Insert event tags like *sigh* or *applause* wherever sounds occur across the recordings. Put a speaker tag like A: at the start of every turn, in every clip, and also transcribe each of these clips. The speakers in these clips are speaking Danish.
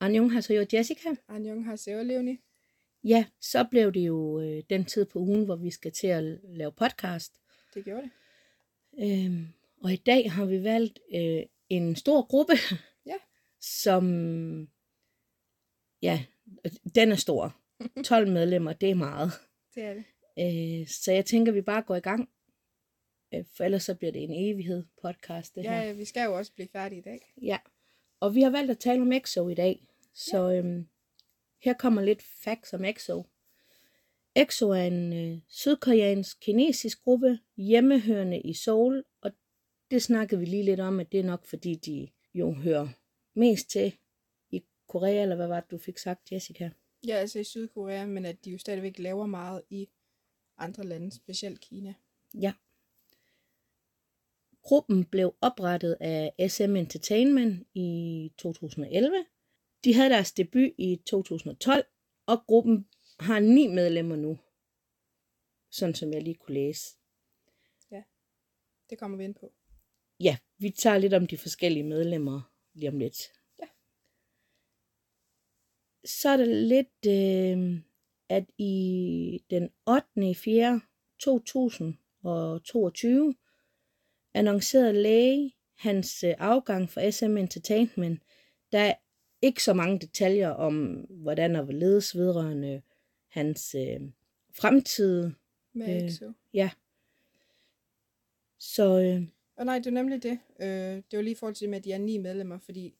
A: Annyeonghaseyo Jessica.
B: Annyeonghaseyo, Leonie.
A: Ja, så blev det jo øh, den tid på ugen, hvor vi skal til at lave podcast.
B: Det gjorde det.
A: Øhm, og i dag har vi valgt øh, en stor gruppe,
B: Ja.
A: som, ja, den er
B: *laughs*
A: stor. 12 medlemmer, det er meget.
B: Det er det.
A: Øh, så jeg tænker, vi bare går i gang. Øh, for ellers så bliver det en evighed podcast, det her.
B: Ja, vi skal jo også blive færdige i dag.
A: Ja, og vi har valgt at tale om EXO i dag, så ja. øhm, her kommer lidt facts om EXO. EXO er en øh, sydkoreansk-kinesisk gruppe, hjemmehørende i Seoul, og det snakkede vi lige lidt om, at det er nok fordi, de jo hører mest til i Korea, eller hvad var det, du fik sagt, Jessica?
B: Ja, altså i Sydkorea, men at de jo stadigvæk laver meget i andre lande, specielt Kina.
A: Ja. Gruppen blev oprettet af SM Entertainment i 2011. De havde deres debut i 2012, og gruppen har ni medlemmer nu. Sådan som jeg lige kunne læse.
B: Det kommer vi ind på.
A: Ja, vi tager lidt om de forskellige medlemmer lige om lidt.
B: Ja.
A: Så er det lidt, øh, at i den 8. i 4. 2022 annoncerede læge hans øh, afgang fra SM Entertainment. Der er ikke så mange detaljer om, hvordan og hvorledes vedrørende hans øh, fremtid.
B: Med
A: Øh.
B: øh. EXO.
A: Ja. Så øh,
B: Og nej, det er nemlig det. Øh, det var lige i forhold til det med, at de er ni medlemmer, fordi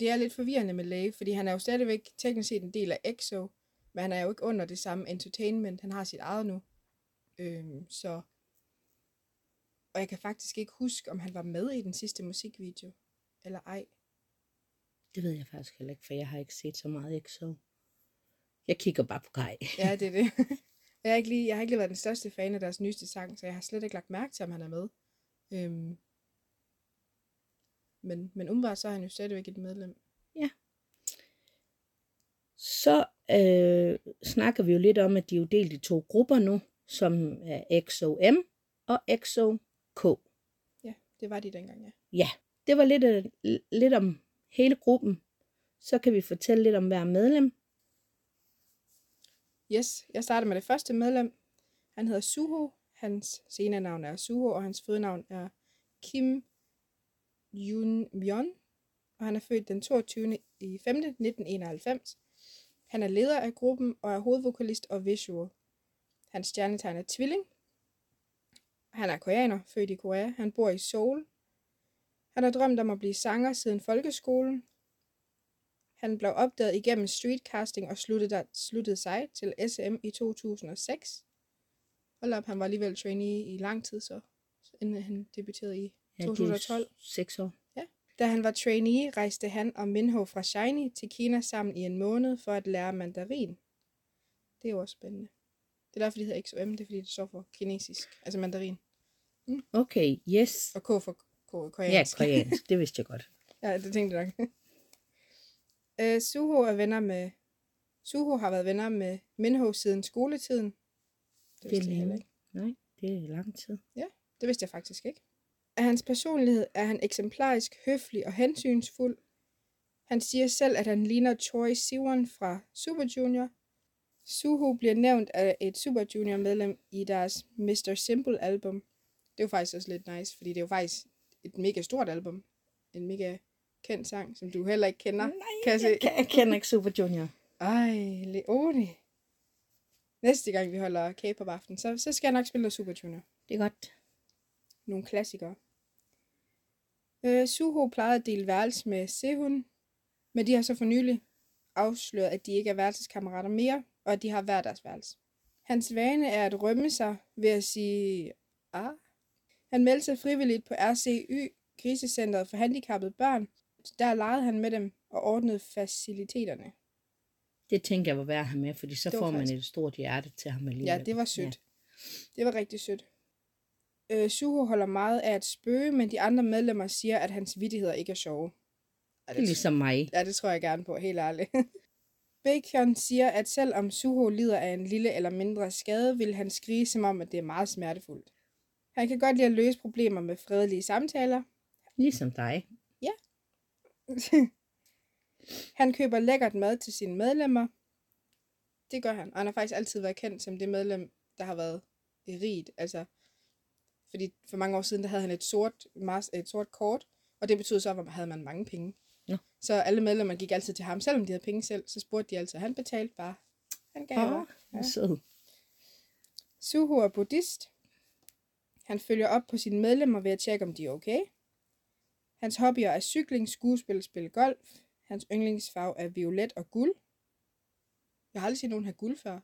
B: det er lidt forvirrende med Lave, fordi han er jo stadigvæk teknisk set en del af EXO, men han er jo ikke under det samme entertainment. Han har sit eget nu. Øh, så... Og jeg kan faktisk ikke huske, om han var med i den sidste musikvideo, eller ej.
A: Det ved jeg faktisk heller ikke, for jeg har ikke set så meget EXO. Jeg kigger bare på Kai.
B: Ja, det *laughs* er det. Og jeg, har ikke lige, jeg har ikke lige været den største fan af deres nyeste sang, så jeg har slet ikke lagt mærke til, om han er med. Øhm, men, men umiddelbart så er han jo stadigvæk et medlem.
A: Så øh, snakker vi jo lidt om, at de er jo delt i to grupper nu, som er XOM og XOK.
B: Ja, det var de dengang, ja.
A: Det var lidt, øh, lidt om hele gruppen. Så kan vi fortælle lidt om hver medlem.
B: Yes, jeg starter med det første medlem. Han hedder Suho. Hans senernavn er Suho, og hans fødenavn er Kim Yoon Myon. Og han er født den 22. i 5. 1991. Han er leder af gruppen og er hovedvokalist og visual. Hans stjernetegn er tvilling. Han er koreaner, født i Korea. Han bor i Seoul. Han har drømt om at blive sanger siden folkeskolen, han blev opdaget igennem streetcasting og sluttede, der, sluttede sig til SM i 2006. Hold op, han var alligevel trainee i lang tid så, inden han debuterede i
A: Ja,
B: 2012.
A: 6 år.
B: Da han var trainee, rejste han og Minho fra Shiny til Kina sammen i en måned for at lære mandarin. Det er jo også spændende. Det er derfor, de hedder XOM, det er fordi, det står for kinesisk, altså mandarin,
A: Okay, yes.
B: og K for ko-
A: Ja,
B: koreansk.
A: koreansk. Det vidste jeg godt.
B: Ja, det tænkte jeg nok. *laughs* øh, Suho er venner med... Suho har været venner med Minho siden skoletiden.
A: Det er
B: vidste jeg
A: længe.
B: heller ikke.
A: Nej, det er lang tid.
B: Det vidste jeg faktisk ikke. Af hans personlighed er han eksemplarisk, høflig og hensynsfuld. Han siger selv, at han ligner Choi Siwon fra Super Junior. Suho bliver nævnt af et Super Junior medlem i deres Mr. Simple album. Det er jo faktisk også lidt nice, fordi det er jo faktisk et mega stort album. En mega kendt sang, som du heller ikke kender.
A: Mm.
B: kan jeg se.
A: jeg kender ikke Super Junior.
B: Ej, Leone. Næste gang vi holder K-pop aften, så, så skal jeg nok spille noget Super Junior.
A: Det er godt.
B: Nogle klassikere. Øh, Suho plejede at dele værelse med Sehun, men de har så for nylig afsløret, at de ikke er værelseskammerater mere, og at de har hver deres værelse. Hans vane er at rømme sig ved at sige ah. Han meldte sig frivilligt på RCY, krisecenteret for handicappede børn. Der legede han med dem og ordnede faciliteterne.
A: Det tænker jeg var værd at have med, fordi så
B: Det var
A: får man
B: faktisk-
A: et stort hjerte til ham alligevel.
B: Ja, det var sødt. Ja. Det var rigtig sødt. Øh, Suho holder meget af at spøge, men de andre medlemmer siger, at hans vidtigheder ikke er sjove. Ja,
A: Det er ligesom mig.
B: ja, det tror jeg gerne på, helt ærligt. *laughs* Baekhyun siger, at selvom Suho lider af en lille eller mindre skade, vil han skrige som om, at det er meget smertefuldt. Han kan godt lide at løse problemer med fredelige samtaler.
A: Ligesom dig.
B: Han køber lækkert mad til sine medlemmer. Det gør han. Og han har faktisk altid været kendt som det medlem, der har været rigt. Altså, fordi for mange år siden, der havde han et sort, mas- et sort kort, og det betød så, at man havde man mange penge.
A: Nå.
B: Så alle medlemmerne gik altid til ham, selvom de havde penge selv, så spurgte de altid, han betalte bare. Han gav bare.
A: Åh, ja. sød.
B: Suho er buddhist. Han følger op på sine medlemmer ved at tjekke, om de er okay. Hans hobbyer er cykling, skuespil, spille golf. Hans yndlingsfarve er violet og guld. Jeg har aldrig set nogen have guld før.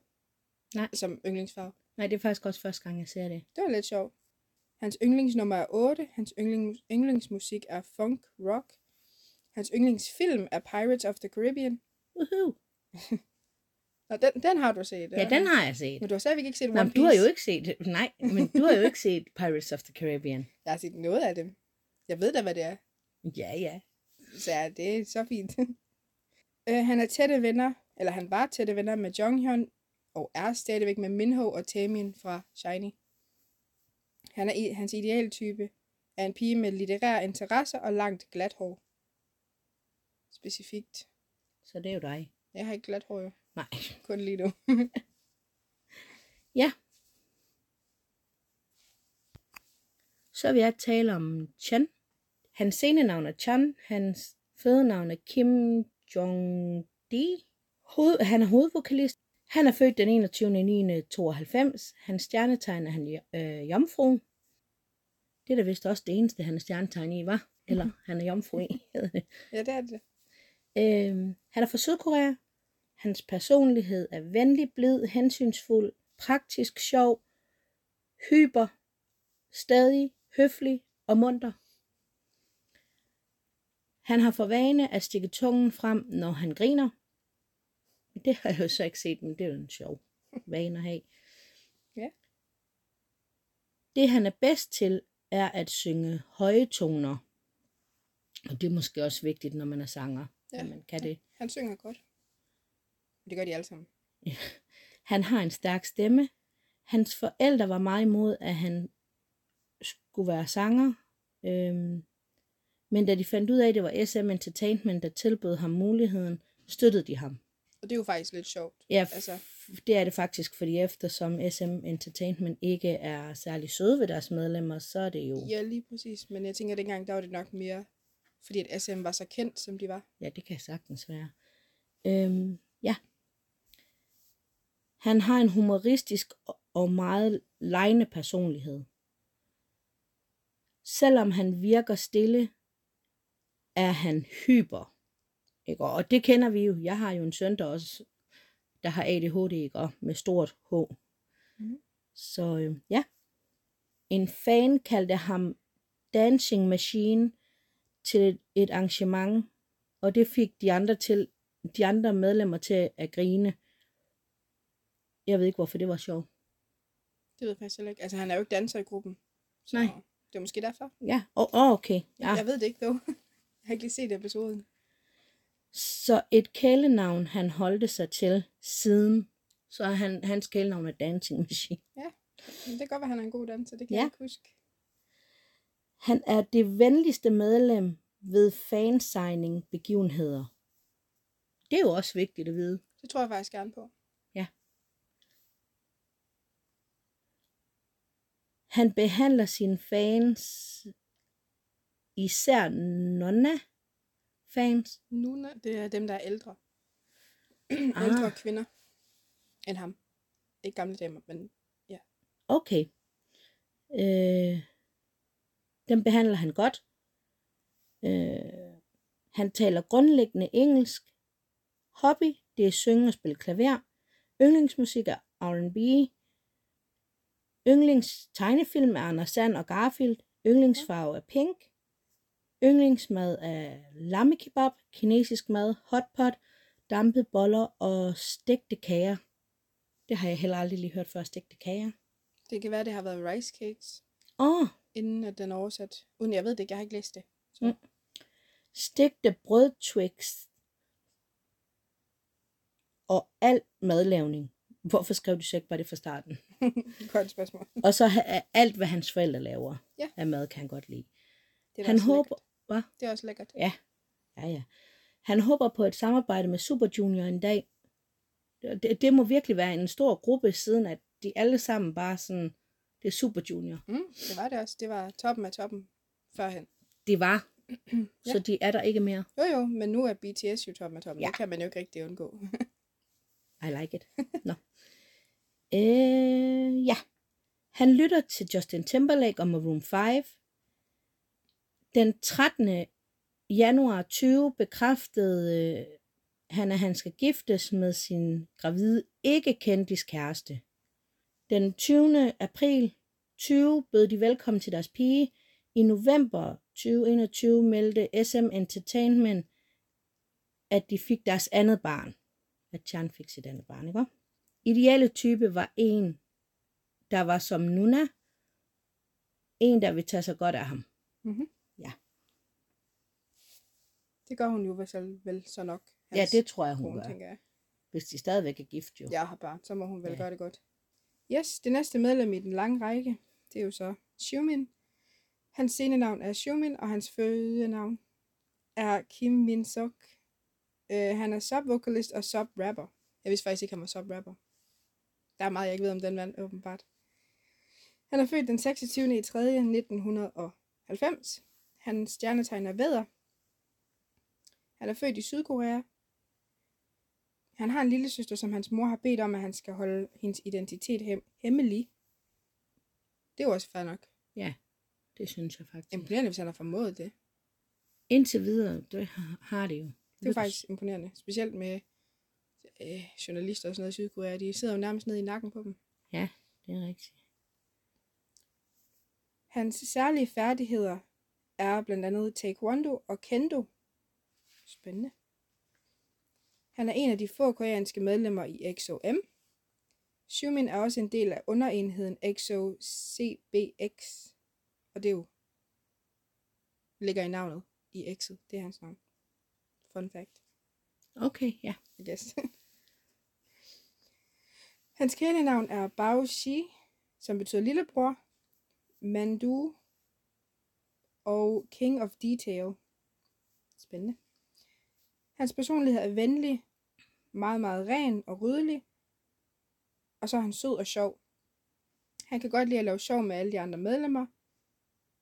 A: Nej.
B: Som yndlingsfarve.
A: Nej, det er faktisk også første gang, jeg ser det.
B: Det var lidt sjovt. Hans yndlingsnummer er 8. Hans yndlings, yndlingsmusik er funk, rock. Hans yndlingsfilm er Pirates of the Caribbean.
A: Uhuh.
B: Nå, den, den har du set.
A: Ja, den har jeg set.
B: Men du har stadigvæk ikke set
A: Nå,
B: One
A: men
B: Piece.
A: du har jo ikke set, nej, men du har jo ikke set Pirates of the Caribbean.
B: Jeg har set noget af dem. Jeg ved da, hvad det er.
A: Ja, ja.
B: Så ja, det er så fint. *laughs* øh, han er tætte venner, eller han var tætte venner med Jonghyun, og er stadigvæk med Minho og Taemin fra Shiny. Han er i, hans idealtype er en pige med litterære interesser og langt glat hår. Specifikt.
A: Så det er jo dig.
B: Jeg har ikke glat hår, jo.
A: Nej.
B: kun lige nu. *laughs*
A: Ja. Så vil jeg tale om Chan. Hans scenenavn er Chan. Hans fødenavn er Kim Jong-di. Hoved, han er hovedvokalist. Han er født den 21.9.92. Hans stjernetegn er han jo- øh, jomfru. Det er da vist også det eneste, han er stjernetegn i, var. Eller han er jomfru i, *laughs* hedder det.
B: ja, det er det.
A: Øhm, han er fra Sydkorea. Hans personlighed er venlig, blid, hensynsfuld, praktisk, sjov, hyper, stadig, høflig og munter. Han har for vane at stikke tungen frem, når han griner. Det har jeg jo så ikke set, men det er jo en sjov vane at have.
B: Ja.
A: Det han er bedst til, er at synge høje toner. Og det er måske også vigtigt, når man er sanger, ja.
B: Ja.
A: at man kan det.
B: Han synger godt. Det gør de alle sammen.
A: Han har en stærk stemme. Hans forældre var meget imod, at han skulle være sanger. Øhm, men da de fandt ud af, at det var SM Entertainment, der tilbød ham muligheden, støttede de ham.
B: Og det er jo faktisk lidt sjovt.
A: Ja,
B: Altså.
A: altså. det er det faktisk, fordi eftersom SM Entertainment ikke er særlig søde ved deres medlemmer, så er det jo... Ja,
B: Ja, lige præcis. Men jeg tænker, at dengang, der var det nok mere, fordi at SM var så kendt, som de var.
A: ja det kan sagtens være. Øhm, ja. Han har en humoristisk og meget lejende personlighed. selvom han virker stille, er han hyper. Ikke? Og det kender vi jo. Jeg har jo en søn, der også der har ADHD, ikke? Og med stort H.
B: Mhm.
A: Så øh, ja. En fan kaldte ham Dancing Machine til et, et arrangement, og det fik de andre, til, de andre medlemmer til at grine. Jeg ved ikke, hvorfor det var sjovt.
B: Det ved jeg faktisk heller ikke. Altså, han er jo ikke danser i gruppen. Så
A: Nej.
B: Det er måske derfor.
A: Ja, åh, oh, oh, okay. Ja.
B: Ja. Jeg ved det ikke, dog. *laughs* Jeg har ikke lige set episoden.
A: Så et kælenavn, han holdte sig til siden, så er han, hans kælenavn er Dancing Machine.
B: Men det kan godt være, han er en god danser. Det kan
A: Ja.
B: jeg ikke huske.
A: Han er det venligste medlem ved fansigning begivenheder. Det er jo også vigtigt at vide.
B: Det tror jeg faktisk gerne på.
A: Han behandler sine fans, især Nonna-fans.
B: Nuna, det er dem, der er ældre.
A: *clears throat*
B: ældre
A: Ah.
B: kvinder end ham. Ikke gamle damer, men
A: Okay. Øh, dem behandler han godt. Øh, han taler grundlæggende engelsk. Hobby, det er synge og spille klaver. Yndlingsmusik er R&B. Yndlings tegnefilm er Anders Sand og Garfield. Yndlingsfarve er pink. Yndlingsmad er lammekebab, kinesisk mad, hotpot, dampede boller og stegte kager. Det har jeg heller aldrig lige hørt før, stegte kager.
B: det kan være, det har været rice cakes,
A: Åh, oh,
B: inden at den er oversat. Uden jeg ved det ikke, jeg har ikke læst det. *laughs*
A: stegte brødtwigs og al madlavning. Hvorfor skrev du så ikke bare det fra
B: *laughs*
A: starten?
B: Godt spørgsmål.
A: Og så ha- er alt, hvad hans forældre laver
B: Ja.
A: af mad, kan han godt lide.
B: Det er da
A: Han
B: også
A: håber...
B: Lækkert.
A: Hvad?
B: Det er også lækkert.
A: Ja, ja. Han håber på et samarbejde med Super Junior en dag. Og Det, det må virkelig være en stor gruppe, siden at de alle sammen bare sådan, det er Super Junior.
B: Mm, det var det også. Det var toppen af toppen førhen.
A: Det var,
B: *clears throat* Ja.
A: så de er der ikke mere.
B: Jo jo, men nu er BTS jo toppen af toppen. Ja.
A: Ja.
B: Det kan man jo ikke rigtig undgå.
A: I like it. Nå. øh, ja. Han lytter til Justin Timberlake og Maroon 5. Den 13. januar 20 bekræftede øh, han, at han skal giftes med sin gravide ikke-kendis kæreste. Den 20. april 20 bød de velkommen til deres pige. I november 2021 meldte SM Entertainment, at de fik deres andet barn at Chan fik sit andet barn, ikke? Ideelle type var en, der var som Nuna. En, der vil tage sig godt af ham.
B: det gør hun jo vel, så- vel så nok.
A: Ja, det tror jeg, hun
B: hun,
A: gør.
B: tænker jeg.
A: Hvis de stadigvæk er gift, jo.
B: Jeg har bare, så må hun vel ja.
A: Ja.
B: gøre det godt. Yes, det næste medlem i den lange række, det er jo så Xiumin. Hans scenenavn er Xiumin, og hans fødenavn er Kim Min Sok. Øh, han er subvokalist og subrapper. Jeg vidste faktisk ikke, han var subrapper. Der er meget, jeg ikke ved om den mand, åbenbart. Han er født den 26. i 3. 1990. Hans stjernetegn er vædder. Han er født i Sydkorea, han har en lille søster, som hans mor har bedt om, at han skal holde hendes identitet hem- hemmelig. Det er jo også fair nok.
A: Det synes jeg faktisk.
B: Imponerende, hvis han har formået det.
A: Indtil videre, det har- har det jo.
B: Det er faktisk imponerende. Specielt med øh, journalister og sådan noget i Sydkorea. De sidder jo nærmest nede i nakken på dem.
A: Det er rigtigt.
B: Hans særlige færdigheder er blandt andet taekwondo og kendo. Spændende. Han er en af de få koreanske medlemmer i XOM. Xiumin er også en del af underenheden XOCBX, og det er jo ligger i navnet i X'et. Det er hans navn. Fun fact.
A: Okay, ja.
B: I guess. *laughs* Hans kælenavn er Bao Shi, som betyder lillebror, Mandu og King of Detail. Spændende. Hans personlighed er venlig, meget, meget ren og ryddelig, og så er han sød og sjov. Han kan godt lide at lave sjov med alle de andre medlemmer.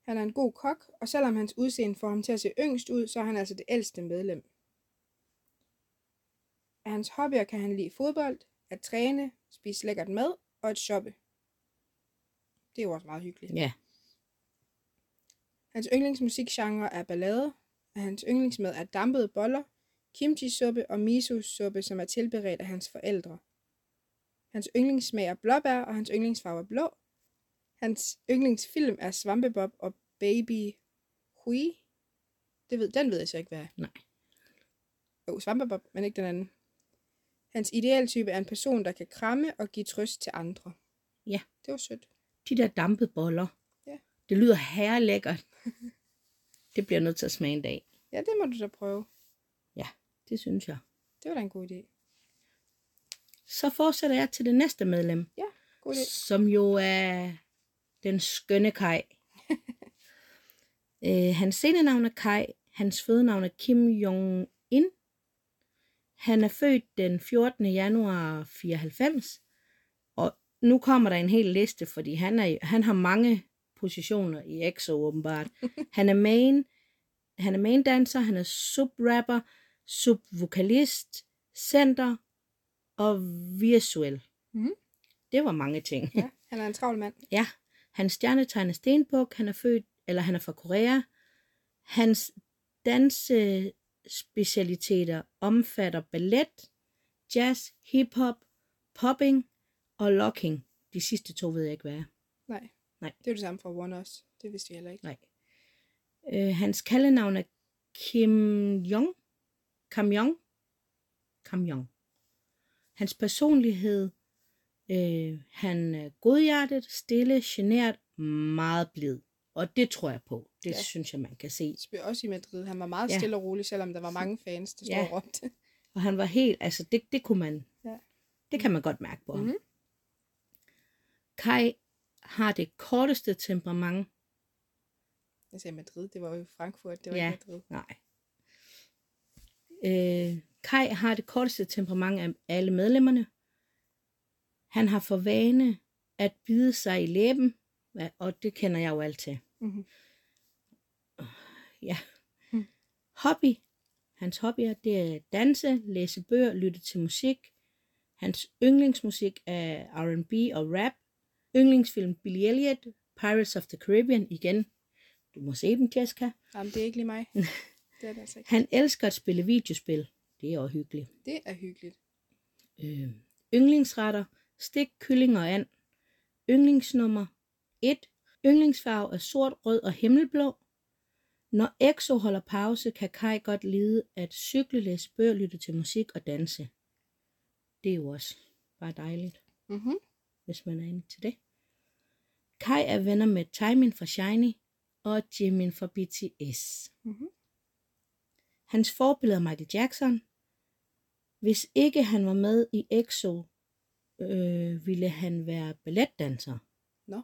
B: Han er en god kok, og selvom hans udseende får ham til at se yngst ud, så er han altså det ældste medlem. Af hans hobbyer kan han lide fodbold, at træne, spise lækkert mad og at shoppe. Det er jo også meget hyggeligt.
A: Ja.
B: Hans yndlingsmusikgenre er ballade, og hans yndlingsmad er dampede boller, kimchi-suppe og miso-suppe, som er tilberedt af hans forældre. Hans yndlingssmag er blåbær, og hans yndlingsfarve er blå. Hans yndlingsfilm er Svampebob og Baby Hui. Det ved, den ved jeg så ikke, hvad er.
A: Nej.
B: Jo, Svampebob, men ikke den anden. Hans idealtype er en person, der kan kramme og give trøst til andre.
A: Ja.
B: Det var sødt.
A: De der dampede boller.
B: Ja.
A: Det lyder herrelækkert. *laughs* det bliver jeg nødt til at smage en dag.
B: Ja, det må du da prøve.
A: Det synes jeg.
B: Det var da en god idé.
A: Så fortsætter jeg til det næste medlem.
B: God idé.
A: som jo er den skønne Kai. øh, hans scenenavn er Kai, hans fødenavn er Kim Jong-in. Han er født den 14. januar 94, og nu kommer der en hel liste, fordi han, er, han har mange positioner i EXO åbenbart. Han er main, han er main dancer, han er subrapper, subvokalist, center og visuel.
B: Mhm.
A: Det var mange ting.
B: Ja, han er en travl mand.
A: Ja, hans stjernetegn er Stenbuk, han er født, eller han er fra Korea. Hans dansespecialiteter omfatter ballet, jazz, hiphop, popping og locking. De sidste to ved jeg ikke, hvad er.
B: Nej.
A: Nej.
B: Det er jo det samme for One også. Det vidste vi heller ikke.
A: Nej. Øh, hans kaldenavn er Kim Jong. Kam Jong. Kam Jong. Hans personlighed, øh, han er godhjertet, stille, genert, meget blid. Og det tror jeg på. Det
B: Ja.
A: ja. synes jeg, man kan se.
B: Sp- Også i Madrid. Han var meget
A: Ja.
B: stille og rolig, selvom der var mange fans, der stod
A: Ja.
B: og råbte.
A: Og han var helt, altså det, det kunne man,
B: Ja.
A: ja. det kan man godt mærke på ham.
B: Mhm.
A: Mm-hmm. Kai har det korteste temperament.
B: Jeg sagde Madrid, det var jo Frankfurt, det var
A: Ja.
B: ikke Madrid.
A: Nej. Øh, Kai har det korteste temperament af alle medlemmerne. Han har for vane at bide sig i læben, hva- og det kender jeg jo alt til.
B: Mhm.
A: Ja.
B: Mm.
A: Hobby. Hans hobbyer, det er at danse, læse bøger, lytte til musik. Hans yndlingsmusik er R&B og rap. Yndlingsfilm Billy Elliot, Pirates of the Caribbean igen. Du må se den, Jessica.
B: Jamen, det er ikke lige
A: *laughs*
B: mig. det er det altså ikke.
A: Han elsker at spille videospil. Det er også hyggeligt.
B: Det er hyggeligt.
A: Øh, yndlingsretter, stik, kylling og and. Yndlingsnummer 1. Yndlingsfarve er sort, rød og himmelblå. Når EXO holder pause, kan Kai godt lide at cykle, læse bøger, lytte til musik og danse. Det er jo også bare dejligt,
B: Mm-hmm.
A: hvis man er inde til det. Kai er venner med Taemin fra Shiny og Jimin fra BTS.
B: Mm-hmm.
A: Hans forbillede er Michael Jackson. Hvis ikke han var med i EXO, øh, ville han være balletdanser.
B: Nå.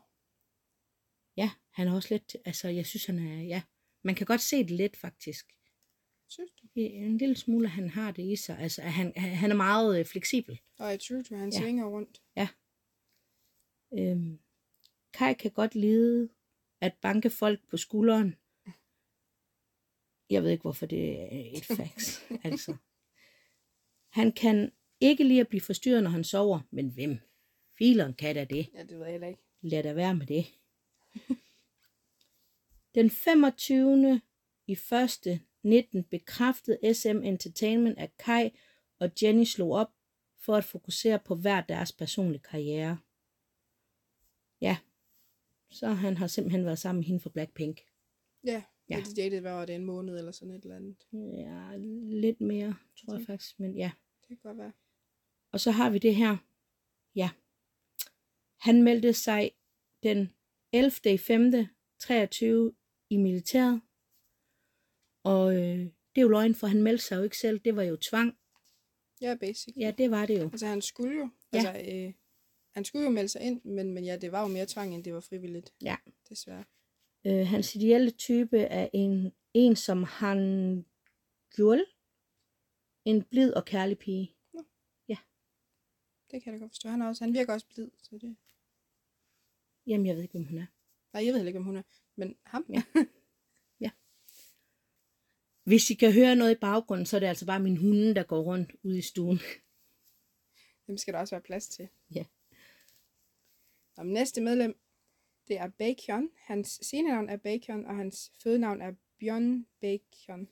A: Ja, han er også lidt, altså jeg synes han er, ja, man kan godt se det lidt faktisk.
B: Synes du?
A: En lille smule, han har det i sig. Altså, at han, han er meget øh, fleksibel.
B: Og jeg synes, du, han
A: Ja.
B: ja. svinger rundt.
A: Øhm, Kai kan godt lide at banke folk på skulderen. Jeg ved ikke, hvorfor det er et fax. altså. Han kan ikke lide at blive forstyrret, når han sover. Men hvem? Fileren kan da det.
B: Ja, det ved jeg heller ikke.
A: Lad da være med det. *laughs* Den 25. i første 19 bekræftede SM Entertainment, at Kai og Jenny slog op for at fokusere på hver deres personlige karriere. Ja, så han har simpelthen været sammen med hende fra Blackpink.
B: Ja,
A: Ja.
B: ja. de datede hver år, det er en måned eller sådan et eller andet.
A: Ja, lidt mere, tror jeg faktisk, men ja.
B: Det kan godt være.
A: Og så har vi det her. Ja. Han meldte sig den 11. i 5. 23 i militæret. Og øh, det er jo løgn, for han meldte sig jo ikke selv. Det var jo tvang.
B: Ja, basic.
A: Ja, det var det jo.
B: Altså, han skulle jo.
A: Ja.
B: Ja. Altså, øh, han skulle jo melde sig ind, men, men ja, det var jo mere tvang, end det var frivilligt.
A: Ja.
B: Desværre.
A: Øh, hans ideelle type er en, en som han Jul. En blid og kærlig pige.
B: Det kan jeg da godt forstå. Han, er også, han virker også blid, så det...
A: Jamen, jeg ved ikke, hvem hun er.
B: Nej, jeg ved heller ikke, om hun er. Men ham,
A: Ja.
B: ja.
A: Hvis I kan høre noget i baggrunden, så er det altså bare min hunde, der går rundt ude i stuen.
B: *laughs* dem skal der også være plads til.
A: Ja.
B: Og næste medlem, det er Bacon. Hans scenenavn er Bacon, og hans fødenavn er Bjørn Bacon.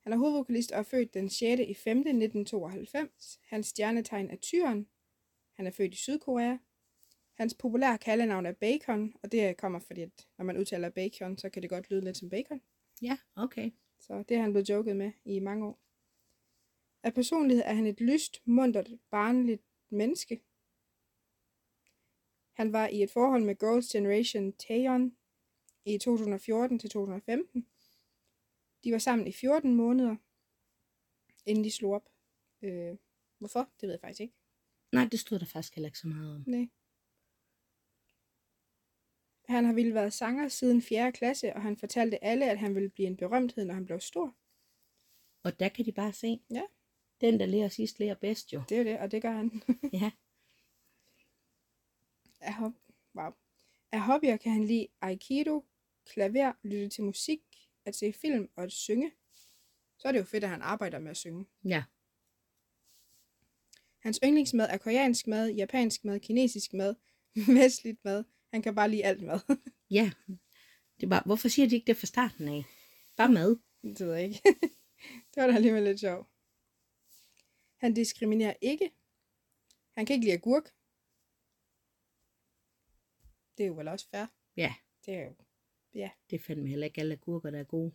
B: Han er hovedvokalist og er født den 6. i 5. 1992. Hans stjernetegn er tyren. Han er født i Sydkorea. Hans populære kaldenavn er Bacon, og det kommer fordi, at når man udtaler Bacon, så kan det godt lyde lidt som bacon.
A: Ja, okay.
B: Så det har han blevet joket med i mange år. Af personlighed er han et lyst, mundert, barnligt menneske. Han var i et forhold med Girls' Generation Taeyeon i 2014-2015. De var sammen i 14 måneder, inden de slog op. Øh, hvorfor? Det ved jeg faktisk ikke.
A: Nej, det stod der faktisk heller ikke så meget om.
B: Nej. Han har ville været sanger siden 4. klasse, og han fortalte alle, at han ville blive en berømthed, når han blev stor.
A: Og der kan de bare se.
B: Ja.
A: Den, der lærer sidst, lærer bedst
B: *laughs*
A: jo.
B: Det er jo det, og det gør han.
A: Ja.
B: Af, hob- wow. Af hobbyer kan han lide aikido, klaver, lytte til musik, at se film og at synge. Så er det jo fedt, at han arbejder med at synge.
A: Ja.
B: Hans yndlingsmad er koreansk mad, japansk mad, kinesisk mad, *laughs* vestligt mad. Han kan bare lide alt mad. *laughs*
A: Ja. Det er bare, hvorfor siger de ikke det fra starten af? Bare mad.
B: det ved jeg ikke. *laughs* det var da alligevel lidt sjovt. Han diskriminerer ikke. Han kan ikke lide agurk. Det er jo vel også fair.
A: Ja.
B: Det er jo
A: Det er fandme heller ikke alle agurker, der er gode.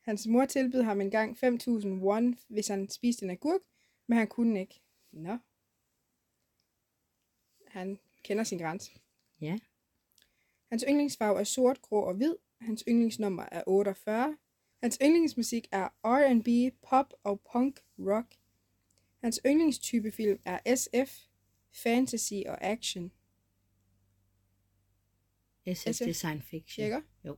B: Hans mor tilbød ham engang 5.000 won, hvis han spiste en agurk, men han kunne ikke. Nå. Han kender sin grænse.
A: Ja.
B: Hans yndlingsfarve er sort, grå og hvid. Hans yndlingsnummer er 48. Hans yndlingsmusik er R&B, pop og punk rock. Hans yndlingstype film er SF, fantasy og action.
A: SF, SF.
B: SF.
A: Design Fiction.
B: Tjekker?
A: Jo.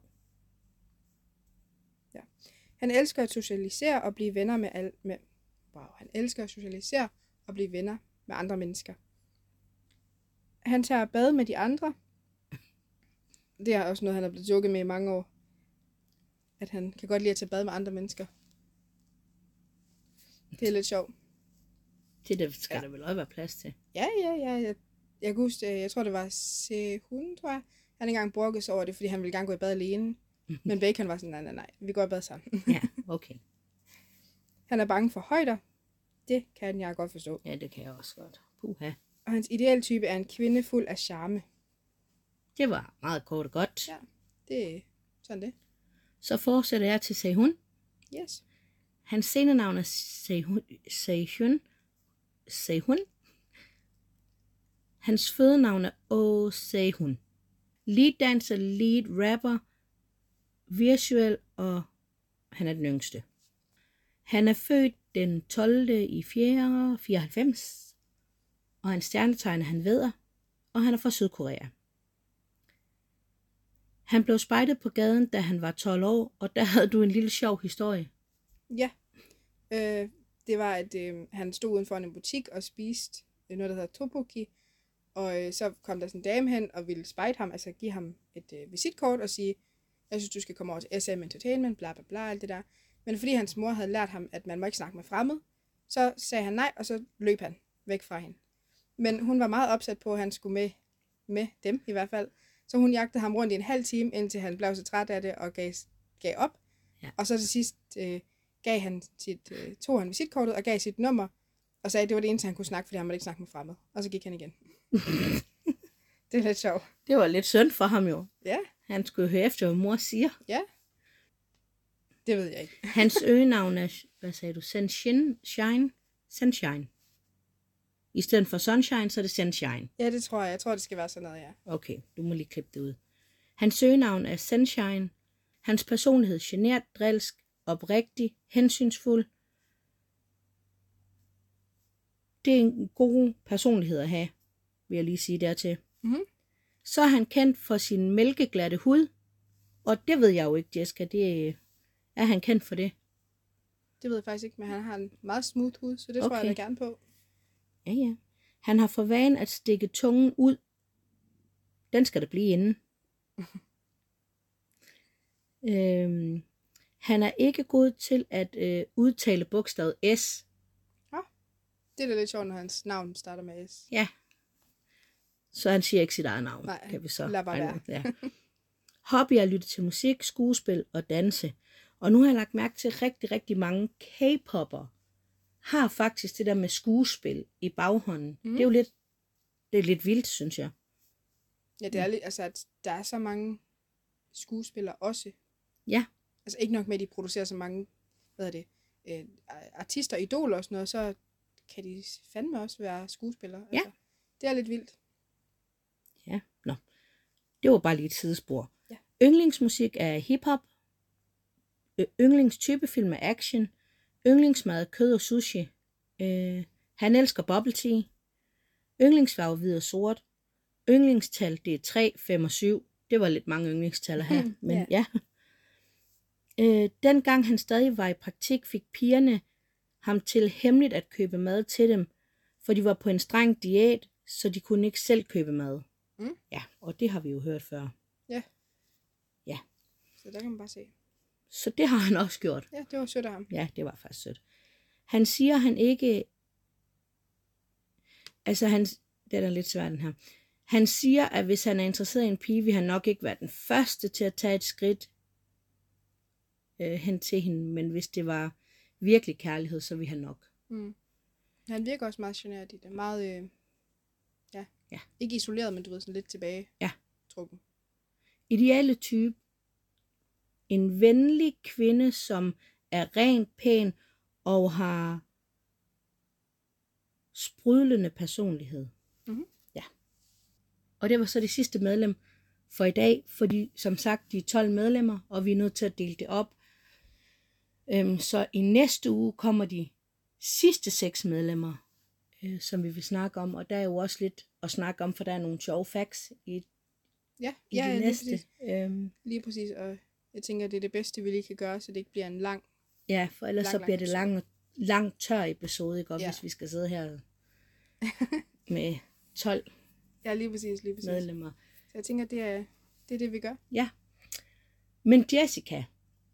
B: Han elsker at socialisere og blive venner med al med wow, han elsker at socialisere og blive venner med andre mennesker. Han tager bad med de andre. Det er også noget, han er blevet joket med i mange år. At han kan godt lide at tage bad med andre mennesker. Det er lidt sjovt.
A: Det der skal
B: Ja.
A: ja. der vel også være plads
B: *laughs*
A: til.
B: Ja, ja, ja. Jeg, jeg kan huske, øh, jeg tror, det var Sehun, tror jeg. Han havde engang brokket sig over det, fordi han ville gerne gå i bad alene. Men Bacon var sådan, nej, nej, nej, vi går i bad sammen.
A: Ja, okay.
B: Han er bange for højder. Det kan jeg godt forstå.
A: Ja, det kan jeg også godt. Puha.
B: Og hans idealtype er en kvinde fuld af charme.
A: Det var meget kort og godt.
B: Ja. Det er sådan det.
A: Så fortsætter jeg til Sehun.
B: Yes.
A: Hans scenenavn er Sehun. Sehun. Sehun. Hans fødenavn er O Sehun. Lead dancer, lead rapper, visuel og han er den yngste. Han er født den 12. i 4. 94, og hans stjernetegn er han veder, og han er fra Sydkorea. Han blev spejdet på gaden, da han var 12 år, og der havde du en lille sjov historie.
B: Ja. Øh, det var, at øh, han stod uden for en butik og spiste øh, noget, der hedder tteokbokki. Og øh, så kom der sådan en dame hen og ville spejde ham, altså give ham et øh, visitkort og sige, jeg synes, du skal komme over til SM Entertainment, bla bla bla, alt det der. Men fordi hans mor havde lært ham, at man må ikke snakke med fremmed, så sagde han nej, og så løb han væk fra hende. Men hun var meget opsat på, at han skulle med, med dem i hvert fald. Så hun jagtede ham rundt i en halv time, indtil han blev så træt af det og gav, gav op.
A: Ja.
B: Og så til sidst øh, gav han sit, øh, tog han visitkortet og gav sit nummer, og sagde, at det var det eneste, han kunne snakke, fordi han måtte ikke snakke med fremmed. Og så gik han igen. det er lidt sjovt.
A: Det var lidt synd for ham jo.
B: Ja,
A: Han skulle jo høre efter, hvad mor siger.
B: ja. Det ved jeg ikke.
A: Hans øgenavn er, hvad sagde du, Sunshine? Shine? Sunshine. I stedet for Sunshine, så er det Sunshine.
B: Ja, det tror jeg. Jeg tror, det skal være sådan noget, ja.
A: Okay, du må lige klippe det ud. Hans søgenavn er Sunshine. Hans personlighed genert, drilsk, oprigtig, hensynsfuld. Det er en god personlighed at have, vil jeg lige sige dertil.
B: Mhm.
A: Så er han kendt for sin mælkeglatte hud, og det ved jeg jo ikke, Jessica, det er, er han kendt for det.
B: Det ved jeg faktisk ikke, men han har en meget smooth hud, så det okay. tror jeg
A: Okay.
B: da gerne på.
A: Ja, ja. Han har for vane at stikke tungen ud. Den skal der blive
B: *laughs*
A: inde. øhm, han er ikke god til at øh, udtale bogstavet S.
B: Det er da lidt sjovt, når hans navn starter med S.
A: Ja. Så han siger ikke sit eget navn,
B: Nej,
A: kan vi så.
B: lad bare
A: regne ud. Ja. Hobby er at lytte til musik, skuespil og danse. Og nu har jeg lagt mærke til, at rigtig, rigtig mange K-popper har faktisk det der med skuespil i baghånden. Mm.
B: Mhm.
A: Det er jo lidt, det er lidt vildt, synes jeg.
B: Ja, det er lidt, altså, at der er så mange skuespillere også.
A: Ja.
B: Altså ikke nok med, at de producerer så mange, hvad er det, øh, artister, idoler og sådan noget, så kan de fandme også være skuespillere.
A: Ja.
B: Altså, det er lidt vildt.
A: Ja, nå. Det var bare lige et sidespor.
B: Ja.
A: Yndlingsmusik er hiphop. Øh, Yndlingstype film er action. Yndlingsmad er kød og sushi. Øh, han elsker bubble tea. Yndlingsfarve hvid og sort. Yndlingstal det er 3, 5 og 7. Det var lidt mange yndlingstal her,
B: Mhm,
A: men
B: ja.
A: ja. ja. *laughs* Øh, dengang han stadig var i praktik, fik pigerne ham til hemmeligt at købe mad til dem, for de var på en streng diæt, så de kunne ikke selv købe mad.
B: Mm.
A: Ja, og det har vi jo hørt før.
B: Så der kan man bare se.
A: Så det har han også gjort.
B: Ja, det var sødt af ham.
A: Ja, det var faktisk sødt. Han siger, han ikke... Altså, han... Den er lidt svær, den her. Han siger, at hvis han er interesseret i en pige, vil han nok ikke være den første til at tage et skridt øh, hen til hende, men hvis det var virkelig kærlighed, så vil han nok.
B: Mm. Han virker også meget generet i det. Meget, øh, ja.
A: Ja.
B: Ikke isoleret, men du ved, sådan lidt tilbage.
A: Ja.
B: Trukken.
A: Ideale type. En venlig kvinde, som er rent pæn og har sprudlende personlighed.
B: Mhm.
A: Ja. Og det var så det sidste medlem for i dag, fordi som sagt, de er 12 medlemmer, og vi er nødt til at dele det op. Øhm, så i næste uge kommer de sidste seks medlemmer, øh, som vi vil snakke om, og der er jo også lidt at snakke om, for der er nogle sjove facts i,
B: Ja,
A: i
B: ja,
A: de
B: ja, lige
A: næste.
B: præcis.
A: Øhm,
B: Lige præcis. Og Jeg tænker, det er det bedste, vi lige kan gøre, så det ikke bliver en lang...
A: Ja, for ellers lang, så
B: Lang, lang
A: bliver det
B: episode.
A: lang, lang tør episode, ikke? Og
B: Ja.
A: hvis vi skal sidde her
B: *laughs*
A: med 12
B: Ja, lige præcis, lige præcis.
A: medlemmer.
B: Så jeg tænker, det er, det er det, vi gør.
A: Ja. Men Jessica,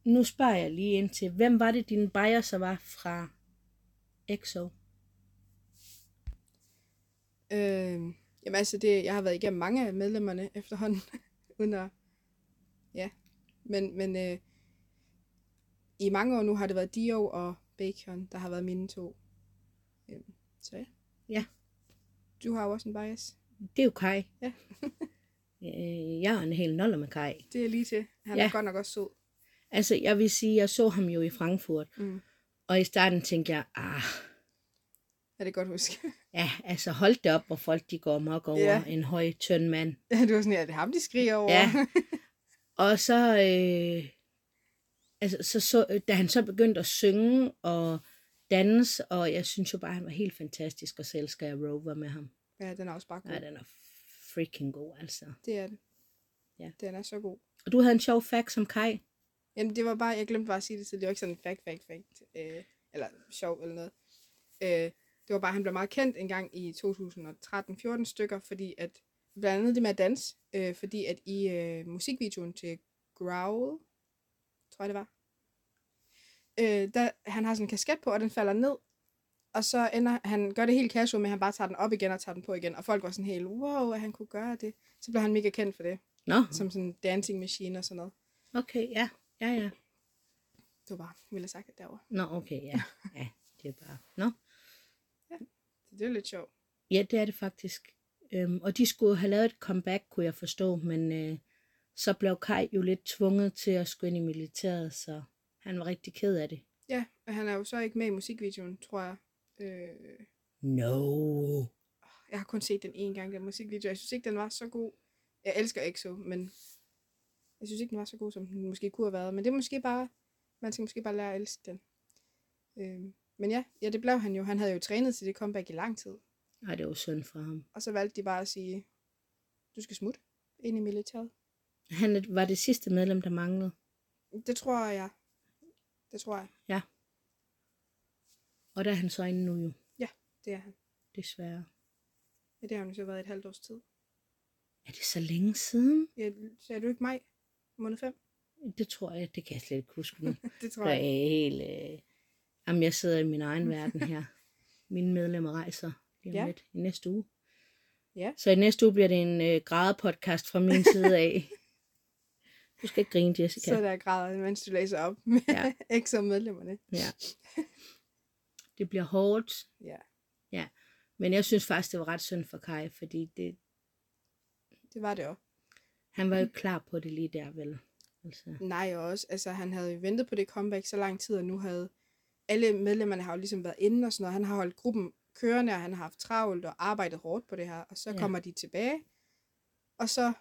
A: nu spørger jeg lige ind til, hvem var det, dine biaser var fra EXO?
B: Øh, jamen altså, det, jeg har været igennem mange af medlemmerne *laughs* efterhånden, uden at... Ja, men, men øh, i mange år nu har det været Dio og Bacon, der har været mine to. Øh, så ja.
A: Ja.
B: Du har jo også en bias.
A: Det er jo Kai.
B: Ja.
A: *laughs* Øh, jeg er en hel noller med Kai.
B: Det er lige til. Han ja.
A: Ja.
B: er godt nok også sød.
A: Altså, jeg vil sige, jeg så ham jo i Frankfurt,
B: Mm.
A: og i starten tænkte jeg, ah,
B: Er det godt huske? *laughs*
A: ja, altså hold det op, hvor folk de går mok over
B: Ja.
A: en høj, tynd mand.
B: Ja, du var sådan, ja, det er ham, de skriger over.
A: Ja. Og så, øh, altså, så, så, da han så begyndte at synge og danse, og jeg synes jo bare, han var helt fantastisk, og selv skal jeg rover med ham.
B: *laughs* ja den er også bare god.
A: Nej, den er freaking god, altså.
B: Det er den.
A: Ja.
B: Den er så god.
A: Og du havde en sjov fact som Kai.
B: Jamen, det var bare, jeg glemte bare at sige det, så det var ikke sådan en fact, fact, fact, øh, eller sjov eller noget. Øh, det var bare, at han blev meget kendt engang i 2013-14 stykker, fordi at, blandt andet det med at danse, øh, fordi at i øh, musikvideoen til Growl, tror jeg det var, øh, der, han har sådan en kasket på, og den falder ned, og så ender, han gør det helt casual, men han bare tager den op igen og tager den på igen, og folk var sådan helt, wow, at han kunne gøre det. Så blev han mega kendt for det,
A: Nå,
B: som sådan en dancing machine og sådan noget.
A: okay, ja, ja, ja.
B: Det var bare, jeg ville have sagt det derovre.
A: Nå, okay, ja, ja, det er bare, nå.
B: Så det er lidt sjovt.
A: Ja, det er det faktisk. Øhm, og de skulle have lavet et comeback, kunne jeg forstå, men øh, så blev Kai jo lidt tvunget til at skulle ind i militæret, så han var rigtig ked af det.
B: Ja, og han er jo så ikke med i musikvideoen, tror jeg. Øh,
A: No.
B: jeg har kun set den ene gang, den musikvideo. Jeg synes ikke, den var så god. Jeg elsker EXO, men jeg synes ikke, den var så god, som den måske kunne have været. Men det er måske bare, man skal måske bare lære at elske den. Øh, men ja, ja, det blev han jo. Han havde jo trænet til det comeback i lang tid.
A: Nej, det var synd for ham.
B: Og så valgte de bare at sige, du skal smutte ind i militæret.
A: Han er- var det sidste medlem, der manglede.
B: Det tror jeg. Det tror jeg.
A: Og der er han så inde nu jo,
B: Det er han.
A: desværre.
B: Ja, det har han jo så været i et halvt års tid.
A: Er det så længe siden?
B: Ja, sagde du ikke mig? Måned 5?
A: Det tror jeg, det kan jeg slet ikke huske nu.
B: *laughs* Det tror
A: Der er
B: jeg.
A: helt... Øh... Jamen, jeg sidder i min egen verden her. Mine medlemmer rejser lige om
B: Ja.
A: ja. lidt i næste uge.
B: Ja.
A: Så i næste uge bliver det en øh, grædepodcast fra min side
B: *laughs*
A: af. Du skal ikke grine, Jessica.
B: Så der græder, mens du læser op med *laughs*
A: Ja.
B: ja. medlemmerne.
A: Ja. Det bliver hårdt,
B: Ja,
A: men jeg synes faktisk, det var ret synd for Kai, fordi det,
B: det var det også.
A: han var jo ikke klar på det lige der, vel? Altså,
B: Nej, og også, altså han havde jo ventet på det comeback så lang tid, og nu havde alle medlemmerne har jo ligesom været inde og sådan noget. Han har holdt gruppen kørende, og han har haft travlt og arbejdet hårdt på det her. Og så
A: Ja.
B: ja. kommer de tilbage, og så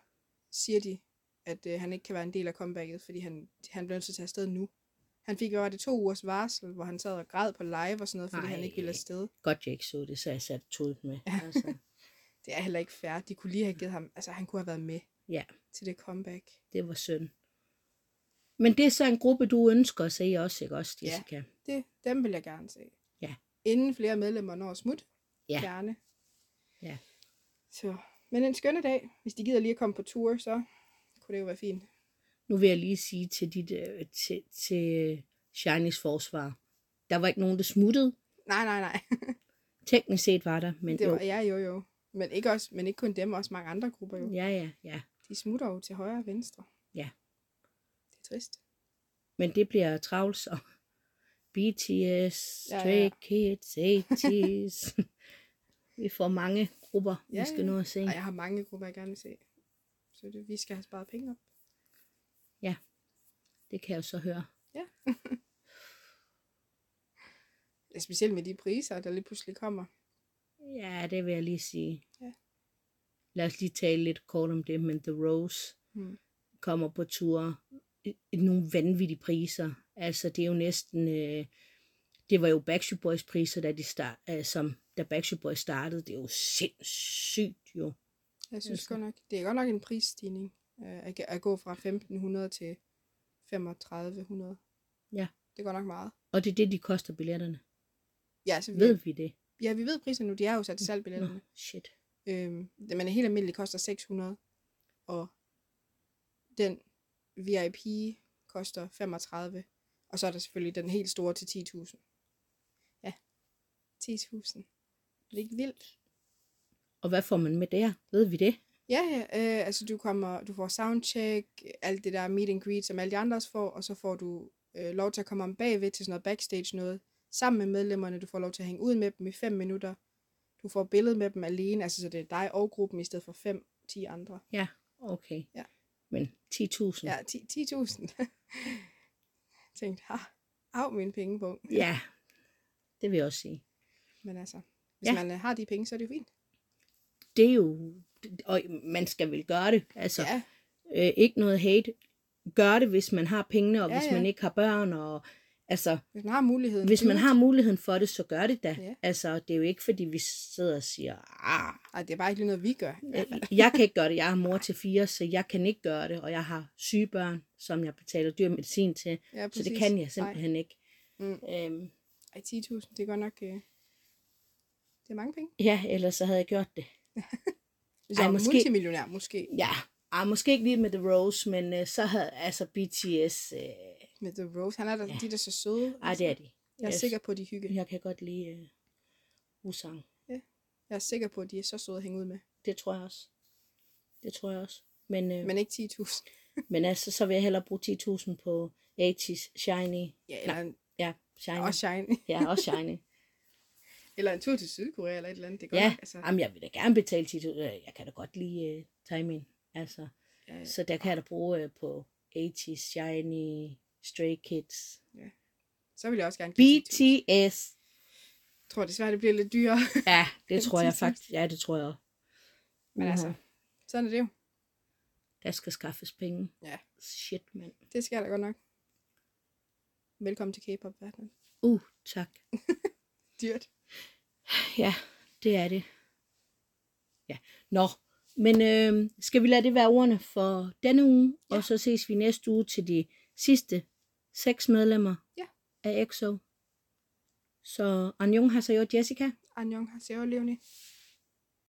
B: siger de, at øh, han ikke kan være en del af comebacket, fordi han, han blev nødt til at tage afsted nu. Han fik, hvad var det, to ugers varsel, hvor han sad og græd på live og sådan noget, fordi
A: Nej.
B: han ikke ville afsted.
A: godt, jeg ikke så det, så jeg satte todet med. Altså,
B: Det er heller ikke fair. De kunne lige have givet ham, altså han kunne have været med
A: ja,
B: til det comeback.
A: det var synd. Men det er så en gruppe, du ønsker at se også, ikke også,
B: Ja.
A: Jessica?
B: Det, dem vil jeg gerne se.
A: Ja.
B: Inden flere medlemmer når at smutte.
A: Ja.
B: Gerne.
A: Ja.
B: Så. Men en skønne dag. Hvis de gider lige at komme på tur, så kunne det jo være fint.
A: Nu vil jeg lige sige til, dit, øh, til, til Shinies forsvar, der var ikke nogen, der smuttede.
B: Nej, nej, nej.
A: Teknisk set var der, men
B: Det var,
A: jo.
B: ja, jo, jo. Men ikke, også, men ikke kun dem, også mange andre grupper jo.
A: Ja, ja, ja.
B: De smutter jo til højre og venstre.
A: Ja.
B: Det er trist.
A: Men det bliver travlt så. BTS,
B: Ja, ja,
A: Stray
B: ja.
A: Kids,
B: *laughs*
A: 80's. Vi får mange grupper, ja,
B: Ja,
A: vi skal
B: ja.
A: nå at se.
B: Og jeg har mange grupper, jeg gerne vil se. Så det, vi skal have sparet penge op.
A: Det kan jeg jo så høre.
B: Ja, Specielt med de priser, der lige pludselig kommer.
A: Ja, det vil jeg lige sige.
B: Ja.
A: Lad os lige tale lidt kort om det, men The Rose
B: Mm.
A: kommer på tur i, i nogle vanvittige priser. Altså, det er jo næsten... Øh, det var jo Backstreet Boys priser, da, de start, øh, som, da Backstreet Boys startede. Det er jo sindssygt, jo.
B: Jeg synes
A: Altså.
B: godt nok, det er godt nok en prisstigning øh, at, at gå fra 1500 til 3500.
A: Ja.
B: Det går nok meget.
A: Og det er det, de koster billetterne.
B: Ja, så vi,
A: Ved vi det?
B: ja, vi ved priserne nu. De er jo sat til salg
A: Nå,
B: billetterne.
A: shit.
B: Øhm, det- men en helt almindelig koster 600, og den VIP koster 35, og så er der selvfølgelig den helt store til 10.000. Ja, 10.000. Er det ikke vildt?
A: Og hvad får man med der? Ved vi det?
B: Ja, ja øh, altså du, kommer, du får soundcheck, alt det der meet and greet, som alle de andre også får, og så får du øh, lov til at komme om bagved til sådan noget backstage noget, sammen med medlemmerne, du får lov til at hænge ud med dem i 5 minutter, du får billedet med dem alene, altså så det er dig og gruppen i stedet for 5-10 andre.
A: Ja, okay.
B: Ja.
A: Men 10.000?
B: Ja, 10 *laughs* 10.000. Tænkte, ha, af min pengebog.
A: ja, det vil jeg også sige.
B: Men altså, hvis
A: Ja.
B: ja. man øh, har de penge, så er det jo fint.
A: Det er jo... Og man skal vel gøre det. Altså,
B: Ja,
A: øh, ikke noget hate. Gør det, hvis man har pengene, og ja,
B: Ja,
A: hvis
B: ja.
A: man ikke har børn. Og, altså,
B: hvis man har muligheden.
A: hvis man
B: do
A: har
B: it.
A: muligheden for det, så gør det da.
B: Ja.
A: Altså, det er jo ikke, fordi vi sidder og siger, ah,
B: Ej, det er bare ikke lige noget, vi gør.
A: øh, jeg kan ikke gøre det. Jeg er
B: *laughs*
A: mor til fire, så jeg kan ikke gøre det. Og jeg har syge børn, som jeg betaler dyr medicin til.
B: Ja,
A: Så det
B: præcis.
A: kan jeg simpelthen ikke.
B: Mm.
A: Øhm,
B: Ej, Ej 10.000, det er godt nok... Øh, det er mange penge.
A: ja, ellers så havde jeg gjort det.
B: Hvis
A: Ej,
B: jeg var
A: måske-
B: multimillionær, måske.
A: Ja, ah, måske ikke lige med The Rose, men øh, så havde altså BTS... Øh,
B: Med The Rose, han er der, ja. de der er så søde.
A: ej, det er de.
B: Jeg er
A: Yes.
B: sikker på, at de hygger.
A: Jeg kan godt lide øh, Usang.
B: Jeg er sikker på, at de er så søde at hænge ud med.
A: Det tror jeg også. Det tror jeg også. Men, øh, men,
B: Men ikke 10.000.
A: men altså, så vil jeg hellere bruge 10.000 på 80's Shiny.
B: Ja, eller en,
A: Ja, Shiny.
B: og
A: Også.
B: Shine. *laughs*
A: Ja, også Shiny.
B: eller en tur til Sydkorea, eller et eller andet. Det er godt
A: ja,
B: nok, altså,
A: Jamen, jeg vil da gerne betale 10.000. Øh, Jeg kan da godt lide uh, timing. Altså,
B: ja, ja.
A: så der kan jeg da bruge uh, på 80's Shiny, Stray Kids,
B: så vil jeg også gerne give 10.000.
A: BTS.
B: Jeg tror desværre, det bliver lidt dyrere. *laughs*
A: Ja, det tror jeg
B: 10.000.
A: faktisk. Ja, det tror jeg også.
B: Men altså,
A: Uha,
B: sådan er det jo.
A: Der skal skaffes penge.
B: Ja.
A: Shit, mand.
B: Det skal der godt nok. Velkommen til K-pop-verdenen.
A: Uh, tak.
B: Dyrt.
A: Ja, det er det. Ja, nå. Men øh, skal vi lade det være ordene for denne uge, ja.
B: Ja.
A: og så ses vi næste uge til de sidste seks medlemmer
B: Ja.
A: af EXO. Så Anjong har så jo Jessica.
B: Annyeong, har Leonie.